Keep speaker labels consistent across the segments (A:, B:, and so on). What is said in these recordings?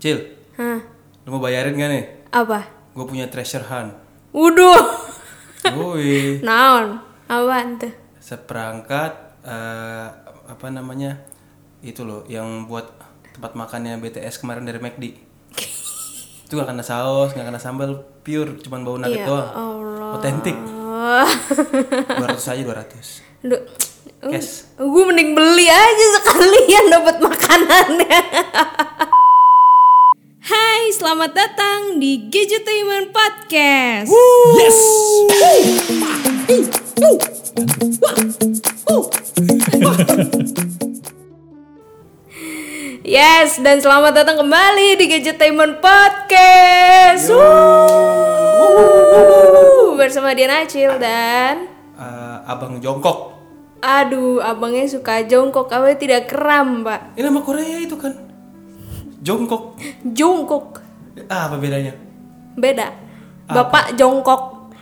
A: Cil,
B: Hah,
A: lu mau bayarin gak nih?
B: apa?
A: Gue punya treasure hunt.
B: Waduh.
A: Woi,
B: Naon? Apaan tuh?
A: seperangkat eh, apa namanya itu loh yang buat tempat makannya BTS kemarin dari McD. itu gak kena saus, gak kena sambal, pure cuman bau nugget doang.
B: Allah.
A: Otentik. 200 aja 200.
B: Duh.
A: Cash.
B: Gue mending beli aja sekalian dapat makanannya. Hai, selamat datang di Gadgetainment Podcast.
A: Yes.
B: Yes, dan selamat datang kembali di Gadgetainment Podcast. Wuh. Bersama Dian Acil dan
A: Eh, abang jongkok.
B: Aduh, abangnya suka jongkok, abangnya tidak keram, Pak.
A: Ini nama Korea itu kan. Jongkok.
B: Jongkok.
A: Ah, apa bedanya?
B: Beda. Bapak jongkok.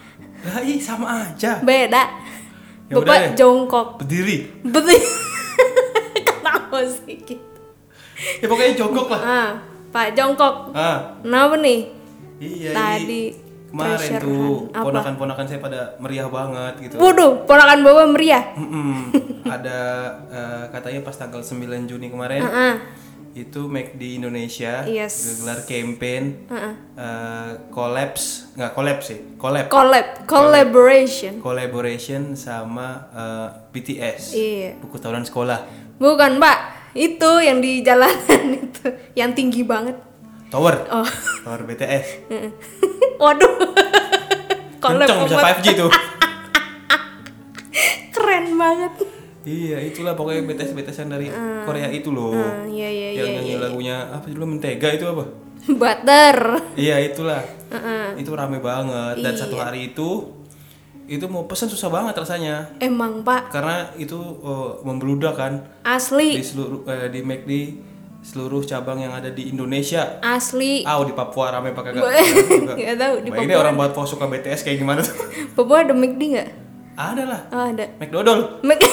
A: Lah, ih sama aja.
B: Beda.
A: Ya udah deh.
B: Bapak jongkok.
A: Berdiri.
B: Betul. Kenapa sih gitu?
A: Ya pokoknya jongkok lah.
B: Ah, Pak Jongkok.
A: Ah,
B: Kenapa nih?
A: iya.
B: Tadi
A: ini kemarin
B: treasure
A: tuh
B: hunt. Apa?
A: ponakan-ponakan saya pada meriah banget gitu.
B: Waduh, ponakan bawa meriah.
A: Mm-mm. Ada eh, katanya pas tanggal 9 Juni kemarin
B: Heeh.
A: itu McD Indonesia
B: Yes.
A: gelar campaign eh, collapse, nggak collapse sih, collab
B: Collab, collaboration.
A: collaboration sama eh, BTS.
B: Iya.
A: Buku tahunan sekolah.
B: Bukan, Pak. Itu yang di jalanan itu, yang tinggi banget.
A: Tower.
B: Oh.
A: Tower BTS.
B: Waduh. Collab
A: Kenceng bisa
B: sama-
A: 5G tuh.
B: keren banget.
A: iya, itulah pokoknya BTS BTSan dari Korea itu loh.
B: Ah, Iya, iya, iya.
A: yang nyanyi lagunya apa dulu mentega itu apa?
B: Butter.
A: Iya, itulah. Itu rame banget dan
B: Iya.
A: satu hari itu itu mau pesan susah banget rasanya
B: Emang, Pak.
A: karena itu eh, membeludak kan di
B: Asli,
A: seluruh eh, di McD seluruh cabang yang ada di Indonesia.
B: asli.
A: Ah, di Papua rame pakai gak?
B: Gak tahu di
A: Nah, Ini orang buat suka BTS kayak gimana tuh?
B: Papua ada McD nggak?
A: ada lah.
B: Oh, ada.
A: McDodol.
B: Mac-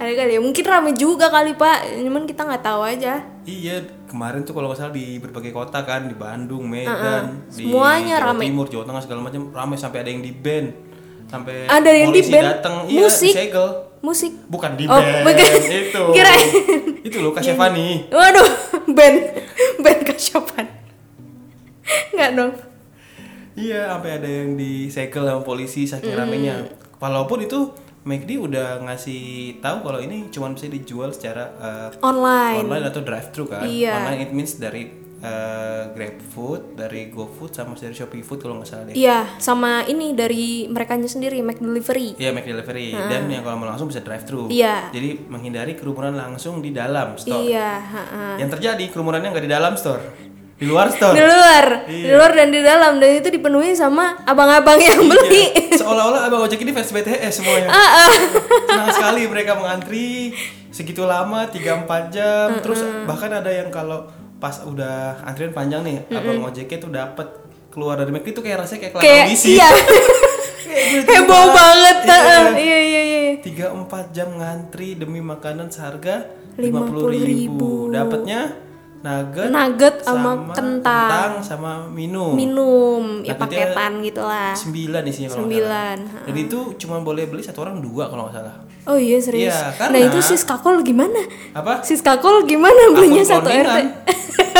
B: ada kali ya. Mungkin rame juga kali pak. Cuman kita nggak tahu aja.
A: Iya, kemarin tuh kalau nggak salah di berbagai kota kan, di Bandung, Medan, di
B: Semuanya
A: Jawa
B: rame.
A: Timur, Jawa Tengah segala macam rame sampai ada yang di band, sampai
B: Ada yang di
A: polisi
B: band?
A: datang, iya,
B: Musik?
A: disegel.
B: Musik.
A: bukan di
B: Oh,
A: band,
B: bukan.
A: itu,
B: Kirain.
A: itu loh Kasyafani,
B: Waduh, band, band kasiopan. Nggak dong.
A: iya, sampai ada yang disegel sama polisi saking
B: Hmm.
A: ramenya. Walaupun itu McD udah ngasih tahu kalau ini cuma bisa dijual secara eh,
B: Online.
A: online atau drive thru kan
B: Iya.
A: online it means dari uh, GrabFood dari GoFood sama dari Shopee Food kalau nggak salah deh
B: Iya, sama ini dari merekanya sendiri, Mac Delivery.
A: Iya, make delivery dan yang kalau mau langsung bisa drive thru
B: Iya.
A: jadi menghindari kerumunan langsung di dalam store
B: Iya, ha-ha.
A: yang terjadi kerumunannya nggak di dalam store di luar store
B: di luar, di luar dan di dalam dan itu dipenuhi sama abang-abang yang beli.
A: Iya. seolah-olah abang ojek ini fans BTS semuanya senang sekali mereka mengantri segitu lama 3-4 jam terus bahkan ada yang kalau pas udah antrian panjang nih abang ojeknya tuh dapat keluar dari McD itu kayak rasanya kayak kelakar
B: Kayak
A: misi
B: iya,
A: Kayak gitu,
B: heboh
A: Pak.
B: banget.
A: Iya.
B: ha-ha. Iya, iya, iya.
A: Tiga empat jam ngantri demi makanan seharga lima puluh
B: 50.000.
A: ribu. Dapatnya nugget,
B: Nugget sama kentang.
A: sama minum.
B: minum ya
A: Nah, nanti ada-
B: paketan gitulah
A: Sembilan isinya kalau nggak
B: Sembilan,
A: salah. Dan itu cuma boleh beli satu orang dua kalau nggak salah.
B: oh iya serius
A: Iya, karena-
B: nah itu sis kakol gimana
A: Apa?
B: sis kakol gimana belinya
A: Akun
B: satu rt
A: cloningan.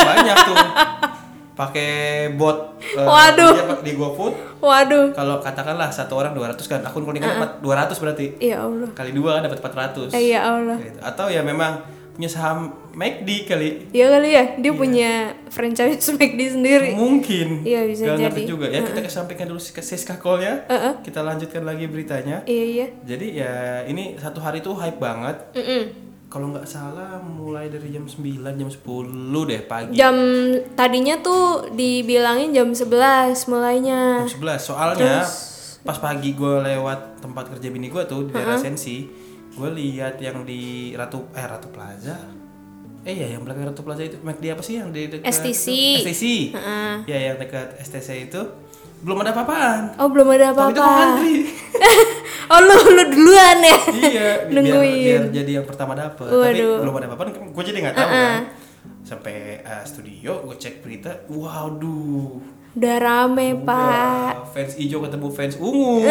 A: Banyak tuh. Pakai bot. eh,
B: Waduh.
A: belinya Di GoFood.
B: waduh
A: Kalau katakanlah satu orang 200 kan akun kuningan dapat 200 berarti.
B: ya allah
A: Kali dua kan dapat 400.
B: eh, ya allah
A: Gitu. Atau ya memang punya saham McD kali
B: ya kali ya dia
A: Iya.
B: punya franchise McD
A: Oh.
B: sendiri
A: mungkin
B: Iya, bisa
A: Nggak ngerti
B: jadi.
A: juga ya kita kesampingkan dulu ke Siska call-nya kita lanjutkan lagi beritanya
B: iya iya
A: jadi ya ini satu hari tuh hype banget
B: Mm-mm.
A: kalau nggak salah mulai dari jam 9 jam 10 deh pagi
B: jam tadinya tuh dibilangin jam 11
A: jam
B: mulainya
A: 11 soalnya pas pagi gue lewat tempat kerja bini gue tuh di daerah Sensi gue lihat yang di Ratu eh Ratu Plaza eh ya yang belakang Ratu Plaza itu McD apa sih yang di dekat
B: STC.
A: STC ya yang dekat STC itu belum ada apa-apaan
B: oh belum
A: Tapi
B: ada
A: itu mau
B: apa-apa
A: ngantri
B: oh lu lu duluan ya
A: iya bi- biar,
B: Nungguin.
A: biar jadi yang pertama dapet tapi
B: Waduh.
A: belum ada apa-apa gue jadi nggak tahu
B: Uh-uh.
A: kan sampai eh, studio gue cek berita waduh
B: udah rame pak
A: Udah, fans hijau ketemu fans ungu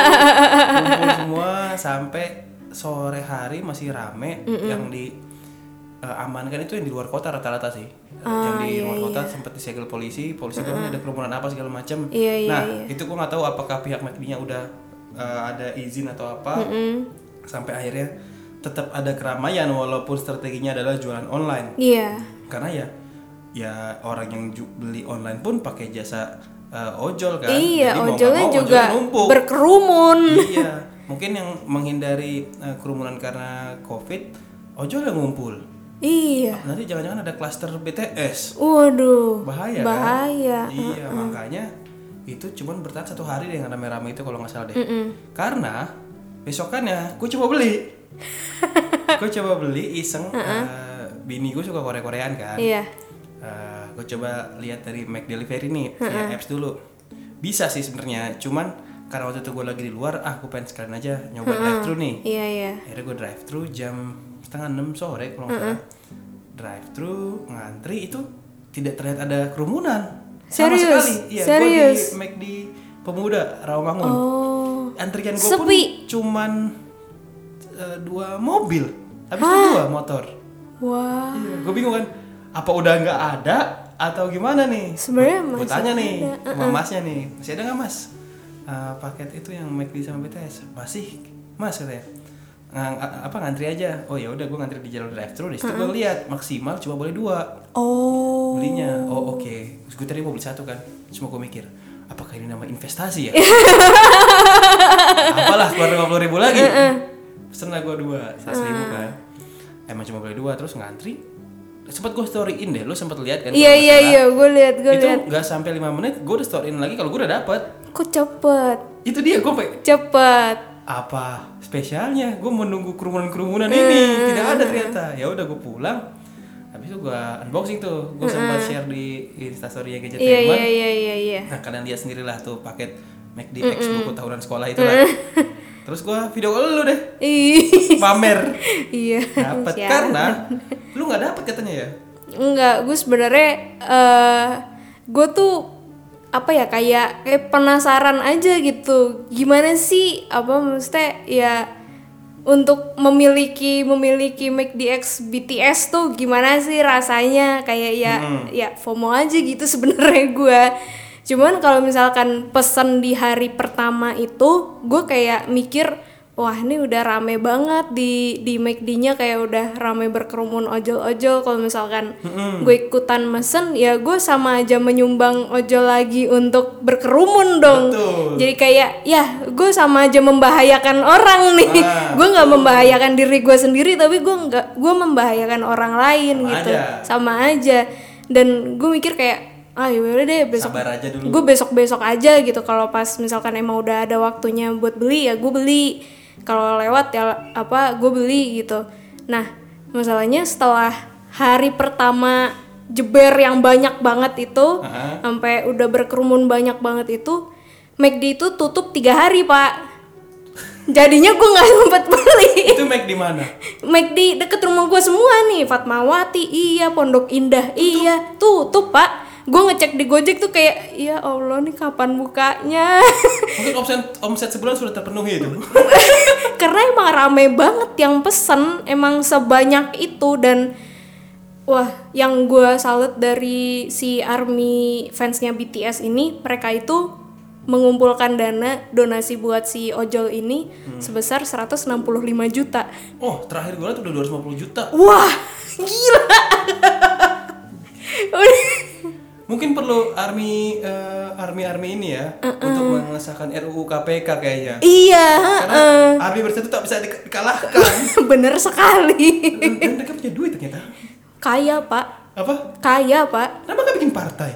A: Kumpul semua sampai sore hari masih rame yang di eh, amankan itu yang di luar kota rata-rata sih
B: Ah,
A: yang di
B: iya,
A: luar kota sempat disegel polisi polisi bilang ada kerumunan apa segala macam
B: Iya, iya,
A: nah itu gua nggak tahu apakah pihak McD-nya udah eh, ada izin atau apa sampai akhirnya tetap ada keramaian walaupun strateginya adalah jualan online
B: iya
A: karena ya ya orang yang ju- beli online pun pakai jasa eh, ojol kan
B: iya
A: Jadi mau
B: ojolnya
A: nggak mau,
B: juga
A: numpuk
B: berkerumun
A: iya mungkin yang menghindari eh, kerumunan karena covid ojol yang ngumpul
B: iya
A: nanti jangan-jangan ada klaster BTS
B: waduh
A: bahaya kan?
B: bahaya
A: iya makanya itu cuman bertahan satu hari deh yang rame-rame itu kalau nggak salah deh karena besokannya gue coba beli gue coba beli iseng eh, bini gue suka Korea-Koreaan kan
B: iya
A: gue Eh, coba lihat dari Mac Delivery nih via apps dulu. Bisa sih sebenarnya, cuman karena waktu itu gue lagi di luar, ah gue pengen sekalian aja nyoba drive thru nih.
B: iya iya
A: Akhirnya gue drive thru jam setengah enam sore kalau nggak salah. Drive thru ngantri itu tidak terlihat ada kerumunan sama
B: Serius?
A: sekali. Iya, gue
B: Serius?
A: di Mac di Pemuda Rawamangun.
B: oh
A: Antrian gue pun
B: Sepi.
A: cuman eh, dua mobil, habis itu dua motor.
B: wah
A: Iya, gue bingung kan apa udah nggak ada atau gimana nih
B: Sebenarnya
A: Gua- gua
B: masih
A: tanya nih sama masnya nih masih ada nggak mas Eh, paket itu yang McD sama BTS masih mas katanya Ngang- a- apa ngantri aja oh ya udah gue ngantri di jalur drive thru di situ gue lihat maksimal cuma boleh dua
B: oh
A: belinya oh oke Terus gue tadi mau beli satu kan cuma gue mikir apakah ini nama investasi ya apalah keluar lima ribu lagi pesen lah gue dua seratus ribu
B: Ah.
A: kan emang cuma boleh dua terus ngantri sempat gue storyin deh lo sempat lihat kan
B: iya
A: kalau
B: iya
A: nggak
B: iya gue lihat
A: salah.
B: gue
A: itu
B: lihat
A: nggak sampai lima menit gue udah storyin lagi kalau gue udah dapet
B: kok cepet
A: itu dia gue pe-
B: cepet
A: apa spesialnya gue menunggu kerumunan kerumunan
B: Eh.
A: ini tidak ada ternyata ya udah gue pulang habis itu gue unboxing tuh gue sempat share di instastory ya gadget
B: iya iya iya iya iya
A: Nah kalian lihat sendirilah tuh paket McD X buku tahunan sekolah itu lah.
B: Mm.
A: Terus gua video call lu deh
B: Ih,
A: pamer
B: iya
A: dapat
B: Siap.
A: karena lu nggak dapat katanya ya.
B: Enggak, gue sebenarnya eh gue tuh apa ya kayak kayak penasaran aja gitu. Gimana sih apa maksudnya ya untuk memiliki memiliki McDX BTS tuh gimana sih rasanya kayak ya ya FOMO aja gitu sebenarnya gue. Cuman kalau misalkan pesan di hari pertama itu gue kayak mikir wah ini udah rame banget di di McD-nya kayak udah rame berkerumun ojol-ojol kalau misalkan gue ikutan mesen ya gue sama aja menyumbang ojol lagi untuk berkerumun dong
A: Betul.
B: jadi kayak ya gue sama aja membahayakan orang nih
A: Ah,
B: gue nggak membahayakan diri gue sendiri tapi gue nggak gue membahayakan orang lain
A: Sama
B: gitu
A: aja.
B: sama aja dan gue mikir kayak ah yaudah deh besok
A: Sabar aja dulu.
B: gue besok besok aja gitu kalau pas misalkan emang udah ada waktunya buat beli ya gue beli kalau lewat ya apa gue beli gitu nah masalahnya setelah hari pertama jeber yang banyak banget itu
A: Ah.
B: sampai udah berkerumun banyak banget itu McD itu tutup tiga hari pak jadinya gue nggak sempet beli
A: Itu Mac di mana?
B: McD deket rumah gue semua nih Fatmawati iya Pondok Indah iya tutup pak gue ngecek di Gojek tuh kayak ya Allah nih kapan bukanya
A: Mungkin omset omset sebulan sudah terpenuhi itu.
B: karena emang rame banget yang pesen emang sebanyak itu dan wah yang gue salut dari si army fansnya BTS ini mereka itu mengumpulkan dana donasi buat si ojol ini sebesar 165 juta
A: Oh terakhir gue lihat udah 250 juta.
B: wah gila Udah.
A: Mungkin perlu army army army ini ya untuk mengesahkan RUU KPK kayaknya.
B: iya
A: Karena army bersatu tak bisa di- dikalahkan.
B: bener sekali
A: Dan dan mereka punya duit ternyata.
B: kaya pak
A: Apa?
B: kaya pak
A: Kenapa gak bikin partai?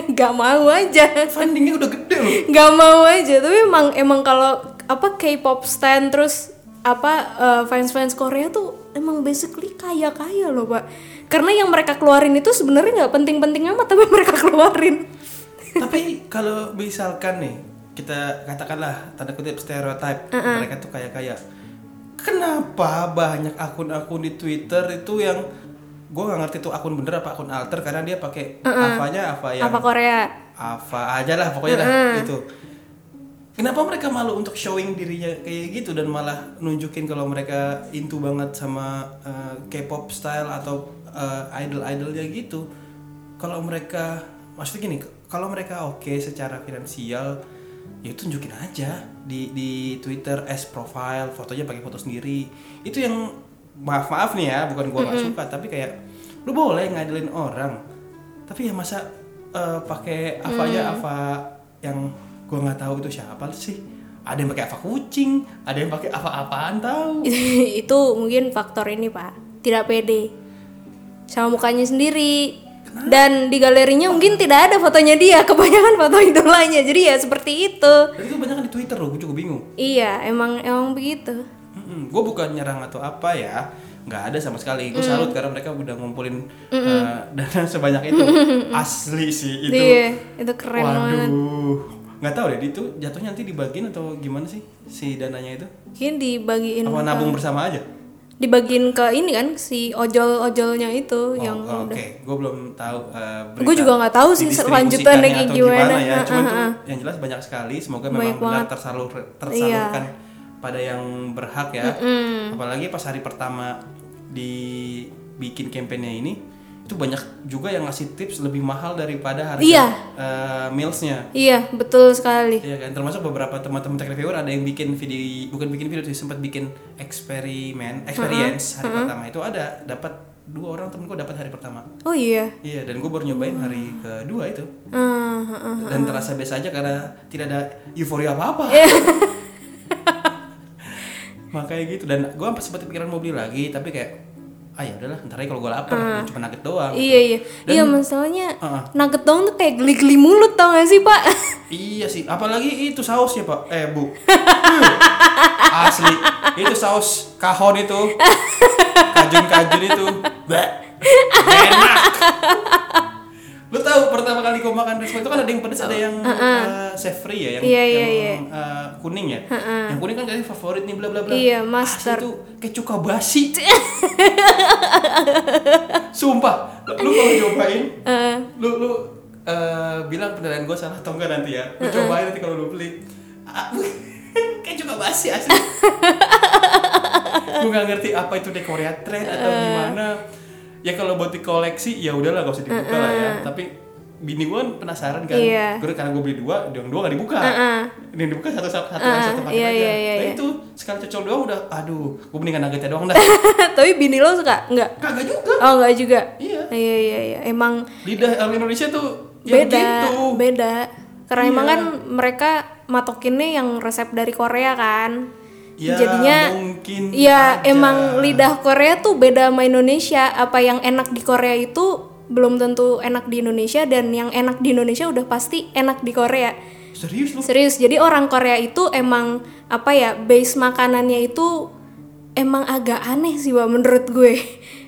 B: nggak mau aja
A: Fundingnya udah gede loh.
B: nggak mau aja tapi emang emang kalau apa K-pop stand terus apa fans fans Korea tuh emang basically kaya kaya loh pak karena yang mereka keluarin itu sebenarnya nggak penting-penting amat tapi mereka keluarin
A: Tapi kalau misalkan nih, kita katakanlah tanda kutip stereotype mereka tuh kayak kayak kenapa banyak akun-akun di Twitter itu yang gue nggak ngerti tuh akun bener apa akun alter karena dia pakai apa-nya apa yang
B: apa Korea
A: apa aja lah pokoknya lah gitu kenapa mereka malu untuk showing dirinya kayak gitu dan malah nunjukin kalau mereka into banget sama uh, K-pop style atau uh, idol-idolnya gitu kalau mereka maksudnya gini kalau mereka oke secara finansial ya itu tunjukin aja di di Twitter as profile fotonya pakai foto sendiri itu yang maaf maaf nih ya bukan gua nggak suka tapi kayak lu boleh ngadilin orang tapi ya masa uh, pakai apa aja
B: Hmm.
A: apa yang gua nggak tahu itu siapa sih ada yang pakai apa kucing ada yang pakai apa-apaan tahu
B: itu mungkin faktor ini pak tidak pede sama mukanya sendiri dan di galerinya mungkin tidak ada fotonya dia kebanyakan foto idolanya jadi ya seperti itu
A: dan itu banyak di Twitter loh gue juga bingung
B: iya emang emang begitu
A: gue bukan nyerang atau apa ya nggak ada sama sekali
B: Hmm.
A: gue salut karena mereka udah ngumpulin uh, dana sebanyak itu asli sih itu
B: iya itu keren banget
A: waduh nggak tahu deh itu jatuhnya nanti dibagiin atau gimana sih si dananya itu
B: mungkin dibagiin
A: apa nabung bersama aja
B: dibagiin ke ini kan si ojol ojolnya
A: Oh,
B: itu yang
A: oh, oke
B: udah
A: gue belum tahu uh, berita
B: Gua juga nggak tahu sih
A: didistribusikannya
B: selanjutannya kayak
A: atau
B: gimana.
A: ya
B: Ha,
A: cuman
B: ha,
A: tuh
B: ha.
A: yang jelas banyak sekali semoga memang
B: Banyak
A: benar
B: banget. Iya.
A: tersalur tersalurkan pada yang berhak ya apalagi pas hari pertama dibikin kampanye ini itu banyak juga yang ngasih tips lebih mahal daripada harga
B: Iya.
A: uh, mealsnya
B: iya betul sekali
A: Iya kan termasuk beberapa teman-teman tech reviewer ada yang bikin video bukan bikin video sih sempat bikin eksperimen experience hari pertama itu ada dapat dua orang temen gue dapat hari pertama
B: oh iya
A: Iya, dan gue baru nyobain hari kedua itu
B: Ah, ah, ah.
A: dan terasa biasa aja karena tidak ada euforia apa apa. Makanya gitu dan gue sempat sempat pikiran mau beli lagi tapi kayak ah ya udahlah ntar aja kalau gue lapar cuma nugget doang.
B: iya iya iya masalahnya
A: Oh. Ah, ah.
B: nugget dong tuh kayak geli-geli mulut tau gak sih pak
A: Iya sih, apalagi itu sausnya pak, eh bu, Hmm. asli itu saus kahon itu, kajun-kajun itu, Bleh. enak. Lu tahu pertama kali gua makan risotto itu kan ada yang pedas, ada yang eh, savory ya, yang,
B: Iya, iya,
A: yang, eh, kuning ya. Yang kuning kan kayaknya favorit nih bla bla bla.
B: Iya,
A: Asli
B: mustard.
A: Ah, Itu kayak cuka basi. Sumpah, lu kalau nyobain, lu lu eh, bilang penilaian gue salah atau enggak nanti ya? Lu
B: Eh,
A: cobain nanti kalau lu beli. Ah, kayak cuka basi asli. gue nggak ngerti apa itu dekorea trend atau
B: Eh.
A: gimana. Ya kalau buat dikoleksi ya udahlah gak usah dibuka lah ya. Tapi bini gue kan penasaran kan,
B: Eh, Iya. Eh,
A: Gua- karena gue beli dua, yang dua gak dibuka. Ini yang dibuka satu satu satu, satu paket
B: iya,
A: aja.
B: iya, iya,
A: Nah,
B: iya.
A: itu sekali cocol doang udah, aduh, gue mendingan nuggetnya doang dah.
B: tapi bini lo suka nggak
A: Kagak juga.
B: oh nggak juga
A: Iya.
B: iya iya iya emang
A: Lidah orang Indonesia tuh ya
B: beda
A: gitu.
B: beda karena
A: Iya.
B: emang kan mereka matokinnya yang resep dari Korea kan
A: Ya,
B: jadinya
A: mungkin
B: ya
A: aja.
B: emang lidah Korea tuh beda sama Indonesia apa yang enak di Korea itu belum tentu enak di Indonesia dan yang enak di Indonesia udah pasti enak di Korea
A: Serius lu?
B: serius jadi orang Korea itu emang apa ya base makanannya itu emang agak aneh sih Wak, menurut gue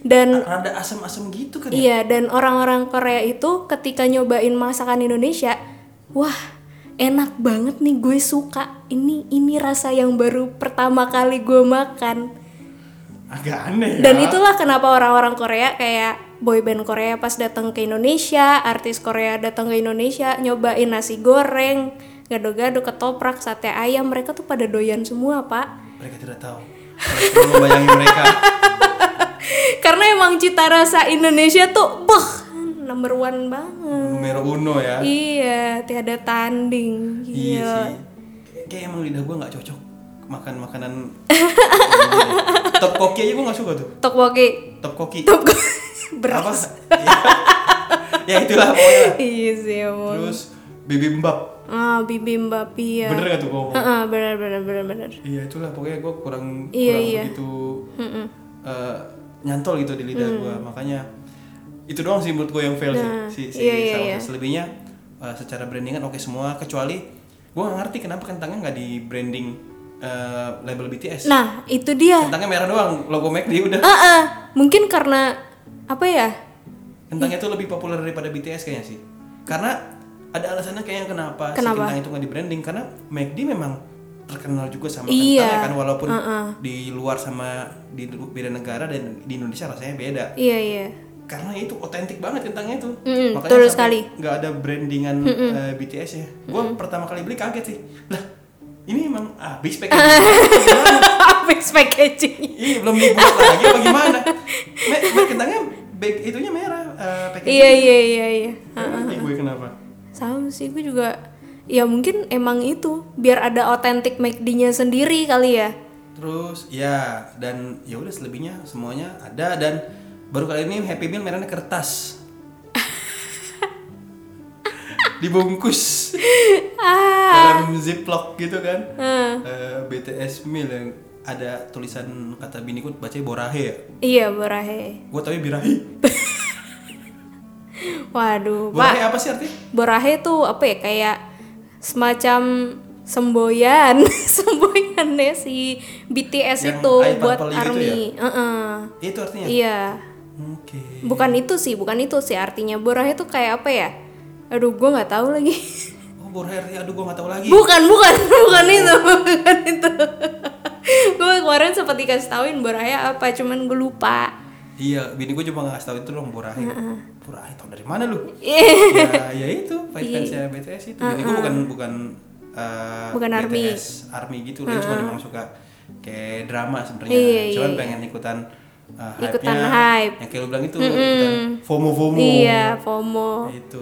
B: dan
A: Rada asem-asem gitu kan ya?
B: Iya, dan orang-orang Korea itu ketika nyobain masakan Indonesia, wah enak banget nih gue suka. Ini ini rasa yang baru pertama kali gue makan.
A: Agak aneh
B: Dan
A: ya.
B: itulah kenapa orang-orang Korea kayak boyband Korea pas datang ke Indonesia, artis Korea datang ke Indonesia nyobain nasi goreng, gado-gado, ketoprak, sate ayam, mereka tuh pada doyan semua, Pak.
A: Mereka tidak tahu. Mereka cuma membayangi mereka.
B: Karena emang cita rasa Indonesia tuh beh, number one banget.
A: Numero uno ya.
B: Iya, tiada tanding. Gila.
A: Iya sih. Kayak emang lidah gua nggak cocok makan makanan. Top koki aja gua nggak suka tuh.
B: Tteokbokki.
A: Top koki.
B: Tteokbokki. berat.
A: Apa? ya. ya itulah pokoknya.
B: Iya sih emang.
A: Terus bibimbap.
B: Ah, bibimbap iya.
A: Bener gak tuh gua ngomong?
B: Heeh, bener bener bener bener.
A: Iya itulah pokoknya gue kurang
B: Iya,
A: kurang
B: iya.
A: begitu eh, nyantol gitu di lidah gua
B: Mm.
A: makanya itu doang sih menurut gue yang fail sih si, si
B: Iya, iya,
A: sausnya.
B: iya.
A: selebihnya eh, secara brandingan oke semua kecuali gua nggak ngerti kenapa kentangnya nggak di branding eh, label BTS
B: Nah, itu dia.
A: kentangnya merah doang logo McD udah
B: Heeh, mungkin karena apa ya?
A: kentangnya itu lebih populer daripada BTS kayaknya sih karena ada alasannya kayaknya kenapa, si
B: Kenapa?
A: Kentang itu nggak di branding karena McD memang terkenal juga sama
B: Iya.
A: kentang ya kan walaupun di luar sama di lu- beda negara dan di Indonesia rasanya beda
B: Iya iya.
A: karena itu otentik banget kentangnya itu
B: Mm-mm, betul
A: sampai
B: sekali.
A: nggak ada brandingan eh, BTS ya gue pertama kali beli kaget sih lah ini emang habis packaging
B: Habis packaging.
A: Iya belum dibuat lagi apa gimana? Me, me- kentangnya back itunya merah eh, packaging.
B: Iya iya iya iya.
A: Ngerti gue kenapa?
B: Sama sih gue juga ya mungkin emang itu biar ada otentik McD-nya sendiri kali ya.
A: Terus ya dan ya udah selebihnya semuanya ada dan baru kali ini Happy Meal merahnya kertas. Dibungkus dalam ziplock gitu kan. Eh, BTS Meal yang ada tulisan kata biniku bacanya borahe ya.
B: Iya, Borahe.
A: Gue taunya birahi.
B: Waduh, Pak.
A: Borahe apa sih artinya?
B: Borahe tuh apa ya kayak semacam semboyan, semboyannya si BTS
A: Yang
B: itu
A: eye
B: buat
A: purple gitu
B: ARMY. Heeh.
A: Itu artinya.
B: Iya.
A: Oke.
B: Bukan itu sih, bukan itu sih artinya. Borahe tuh kayak apa ya? Aduh, gua nggak tahu lagi.
A: Oh, borahe aduh gue gak tahu lagi.
B: bukan, bukan, bukan itu, bukan itu. gue kemarin sempat dikasih tauin borahe apa, cuman gue lupa.
A: Iya, bini gue cuma ngasih tau itu dong Borahi. Borahi tau dari mana lu?
B: Iya.
A: ya, ya itu, fansnya BTS itu. Bini gue bukan bukan eh,
B: Bukan ARMY.
A: BTS army gitu, dia cuma memang suka kayak drama sebenarnya.
B: Iya,
A: Cuman
B: iya.
A: pengen ikutan eh,
B: Ikutan
A: hype-nya.
B: hype.
A: Yang kayak lu bilang itu, ikutan FOMO-FOMO.
B: Iya, FOMO.
A: Itu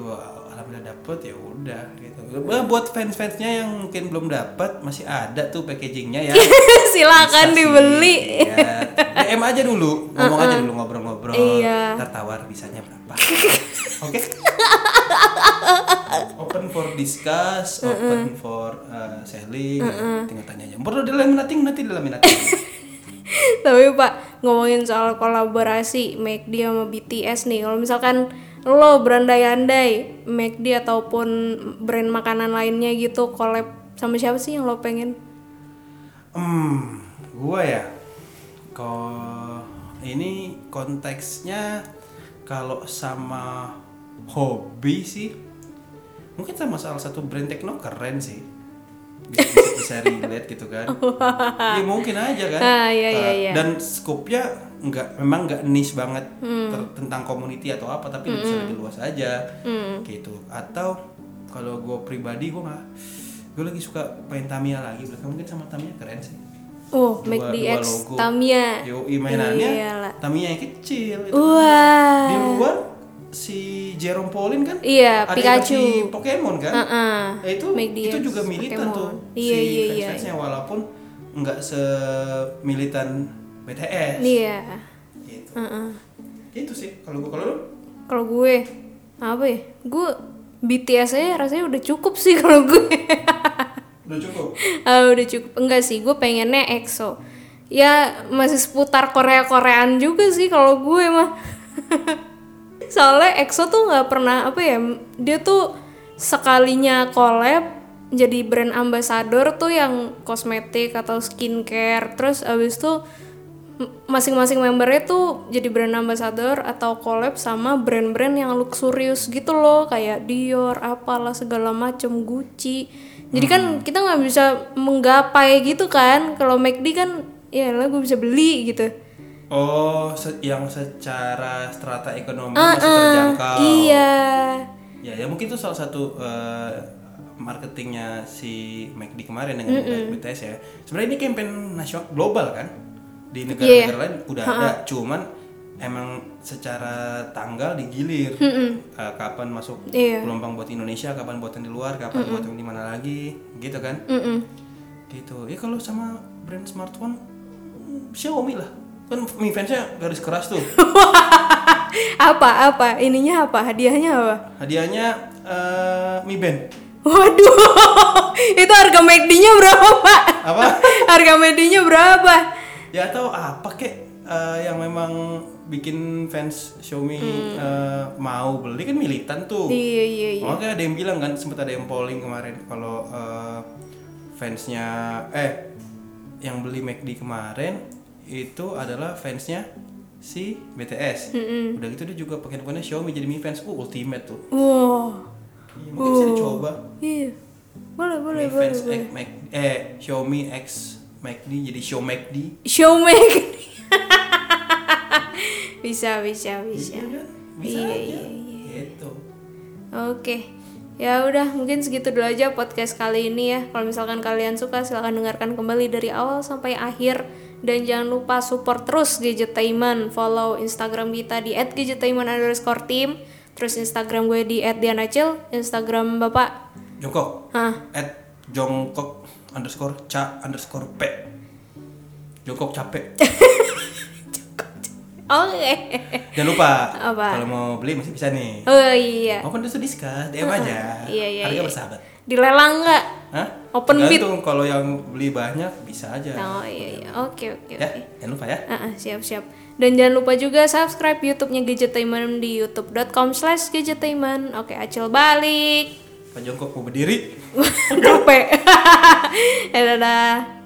A: alhamdulillah dapet ya udah gitu. Nah, buat fans-fansnya yang mungkin belum dapat masih ada tuh packagingnya ya. Bisa sih,
B: Silakan dibeli. Uh-uh.
A: iya. DM aja dulu, ngomong aja dulu ngobrol-ngobrol.
B: Iya.
A: Ntar tawar bisanya berapa? Oke. Open for discuss,
B: Uh-uh.
A: open for uh, selling. Tinggal tanya aja. Perlu dalam nating nanti dalam nating.
B: Tapi Pak, ngomongin soal kolaborasi McD sama BTS nih. Kalau misalkan lo berandai-andai McD ataupun brand makanan lainnya gitu collab sama siapa sih yang lo pengen?
A: Hmm, gua ya. Kok ini konteksnya kalau sama hobi sih mungkin sama salah satu brand tekno keren sih bisa, bisa, bisa relate gitu kan ya mungkin aja kan
B: Ah, iya, iya,
A: Eh,
B: iya.
A: dan scope-nya nggak memang nggak niche banget
B: Hmm.
A: ter- tentang community atau apa tapi bisa lebih luas aja
B: Hmm.
A: gitu atau kalau gue pribadi gue nggak gue lagi suka main Tamiya lagi belakang mungkin sama Tamiya keren sih
B: Oh,
A: Dua-
B: McD
A: dua
B: X
A: logo.
B: Tamiya.
A: yo mainannya
B: Iyalah.
A: Tamiya yang kecil itu.
B: Eh, iya Wah.
A: di luar si Jerome Pauline kan
B: Iya,
A: ada
B: Pikachu.
A: versi Pokemon kan
B: Heeh.
A: Ya, itu
B: Make
A: itu
B: DX
A: juga militan
B: Pokemon.
A: tuh
B: Iya,
A: si
B: iya, iya.
A: fans-fansnya walaupun nggak semilitan BTS
B: Iya.
A: gitu
B: Heeh.
A: itu sih kalau gua kalau lu
B: Kalau gue apa ya? Gue BTS aja rasanya udah cukup sih kalau gue.
A: udah cukup
B: Ah, udah cukup enggak sih gue pengennya EXO ya masih seputar Korea Koreaan juga sih kalau gue mah soalnya EXO tuh nggak pernah apa ya dia tuh sekalinya collab jadi brand ambassador tuh yang kosmetik atau skincare terus abis itu m- masing-masing membernya tuh jadi brand ambassador atau collab sama brand-brand yang luxurious gitu loh kayak Dior apalah segala macem Gucci jadi kan kita nggak bisa menggapai gitu kan kalau McD kan ya lah gue bisa beli gitu
A: oh se- yang secara strata ekonomi
B: Ah,
A: masih terjangkau
B: iya
A: ya ya mungkin itu salah satu eh, marketingnya si McD kemarin dengan BTS ya sebenarnya ini campaign nasional global kan di
B: Iya,
A: negara-negara lain udah ada cuman emang secara tanggal digilir Eh, kapan masuk
B: Iya.
A: gelombang buat Indonesia kapan buat yang di luar kapan buat yang di mana lagi gitu kan
B: Mm-mm.
A: gitu ya kalau sama brand smartphone mm, Xiaomi lah kan Mi fansnya garis keras tuh
B: apa apa ininya apa hadiahnya apa
A: hadiahnya eh, Mi Band
B: waduh itu harga McD-nya berapa pak
A: apa
B: harga McD-nya berapa
A: ya atau apa kek eh, yang memang bikin fans Xiaomi eh, mau beli kan militan tuh
B: Hmm. iya iya iya
A: makanya ada yang bilang kan sempat ada yang polling kemarin kalau eh, fansnya eh yang beli McD kemarin itu adalah fansnya si BTS udah gitu dia juga pakai handphonenya Xiaomi jadi Mi fans uh ultimate tuh
B: wow
A: Iya, mungkin bisa dicoba.
B: Iya. Boleh, boleh,
A: Mi
B: boleh,
A: Fans
B: boleh.
A: X Mac- eh Xiaomi X MACD jadi Xiao MACD.
B: Show make. bisa, bisa, bisa.
A: Iya kan? Bisa
B: Iya,
A: aja.
B: iya,
A: Gitu.
B: Oke. Ya udah, mungkin segitu dulu aja podcast kali ini ya. Kalau misalkan kalian suka silahkan dengarkan kembali dari awal sampai akhir dan jangan lupa support terus Gadgetainment. Follow Instagram kita di @gadgetainment underscore team. Terus Instagram gue di @dianacil, Instagram Bapak.
A: Jongkok.
B: Hah,
A: at jongkok underscore ca underscore p jongkok capek
B: oke.
A: jangan lupa
B: Apa?
A: kalau mau beli masih bisa nih
B: Oh iya.
A: maupun itu diskus DM aja
B: Iya, iya,
A: harga
B: iya.
A: bersahabat
B: Dilelang nggak?
A: Hah?
B: Open bid.
A: Tergantung, kalau yang beli banyak bisa aja
B: Oh iya iya. Oke oke
A: ya
B: oke.
A: jangan lupa ya
B: Ah, ah, siap siap. Dan jangan lupa juga subscribe YouTube-nya Gadgetainment di youtube.com slash gadgetainment. Oke, acil balik.
A: pak jongkok mau berdiri
B: Capek. Eh, Dadah.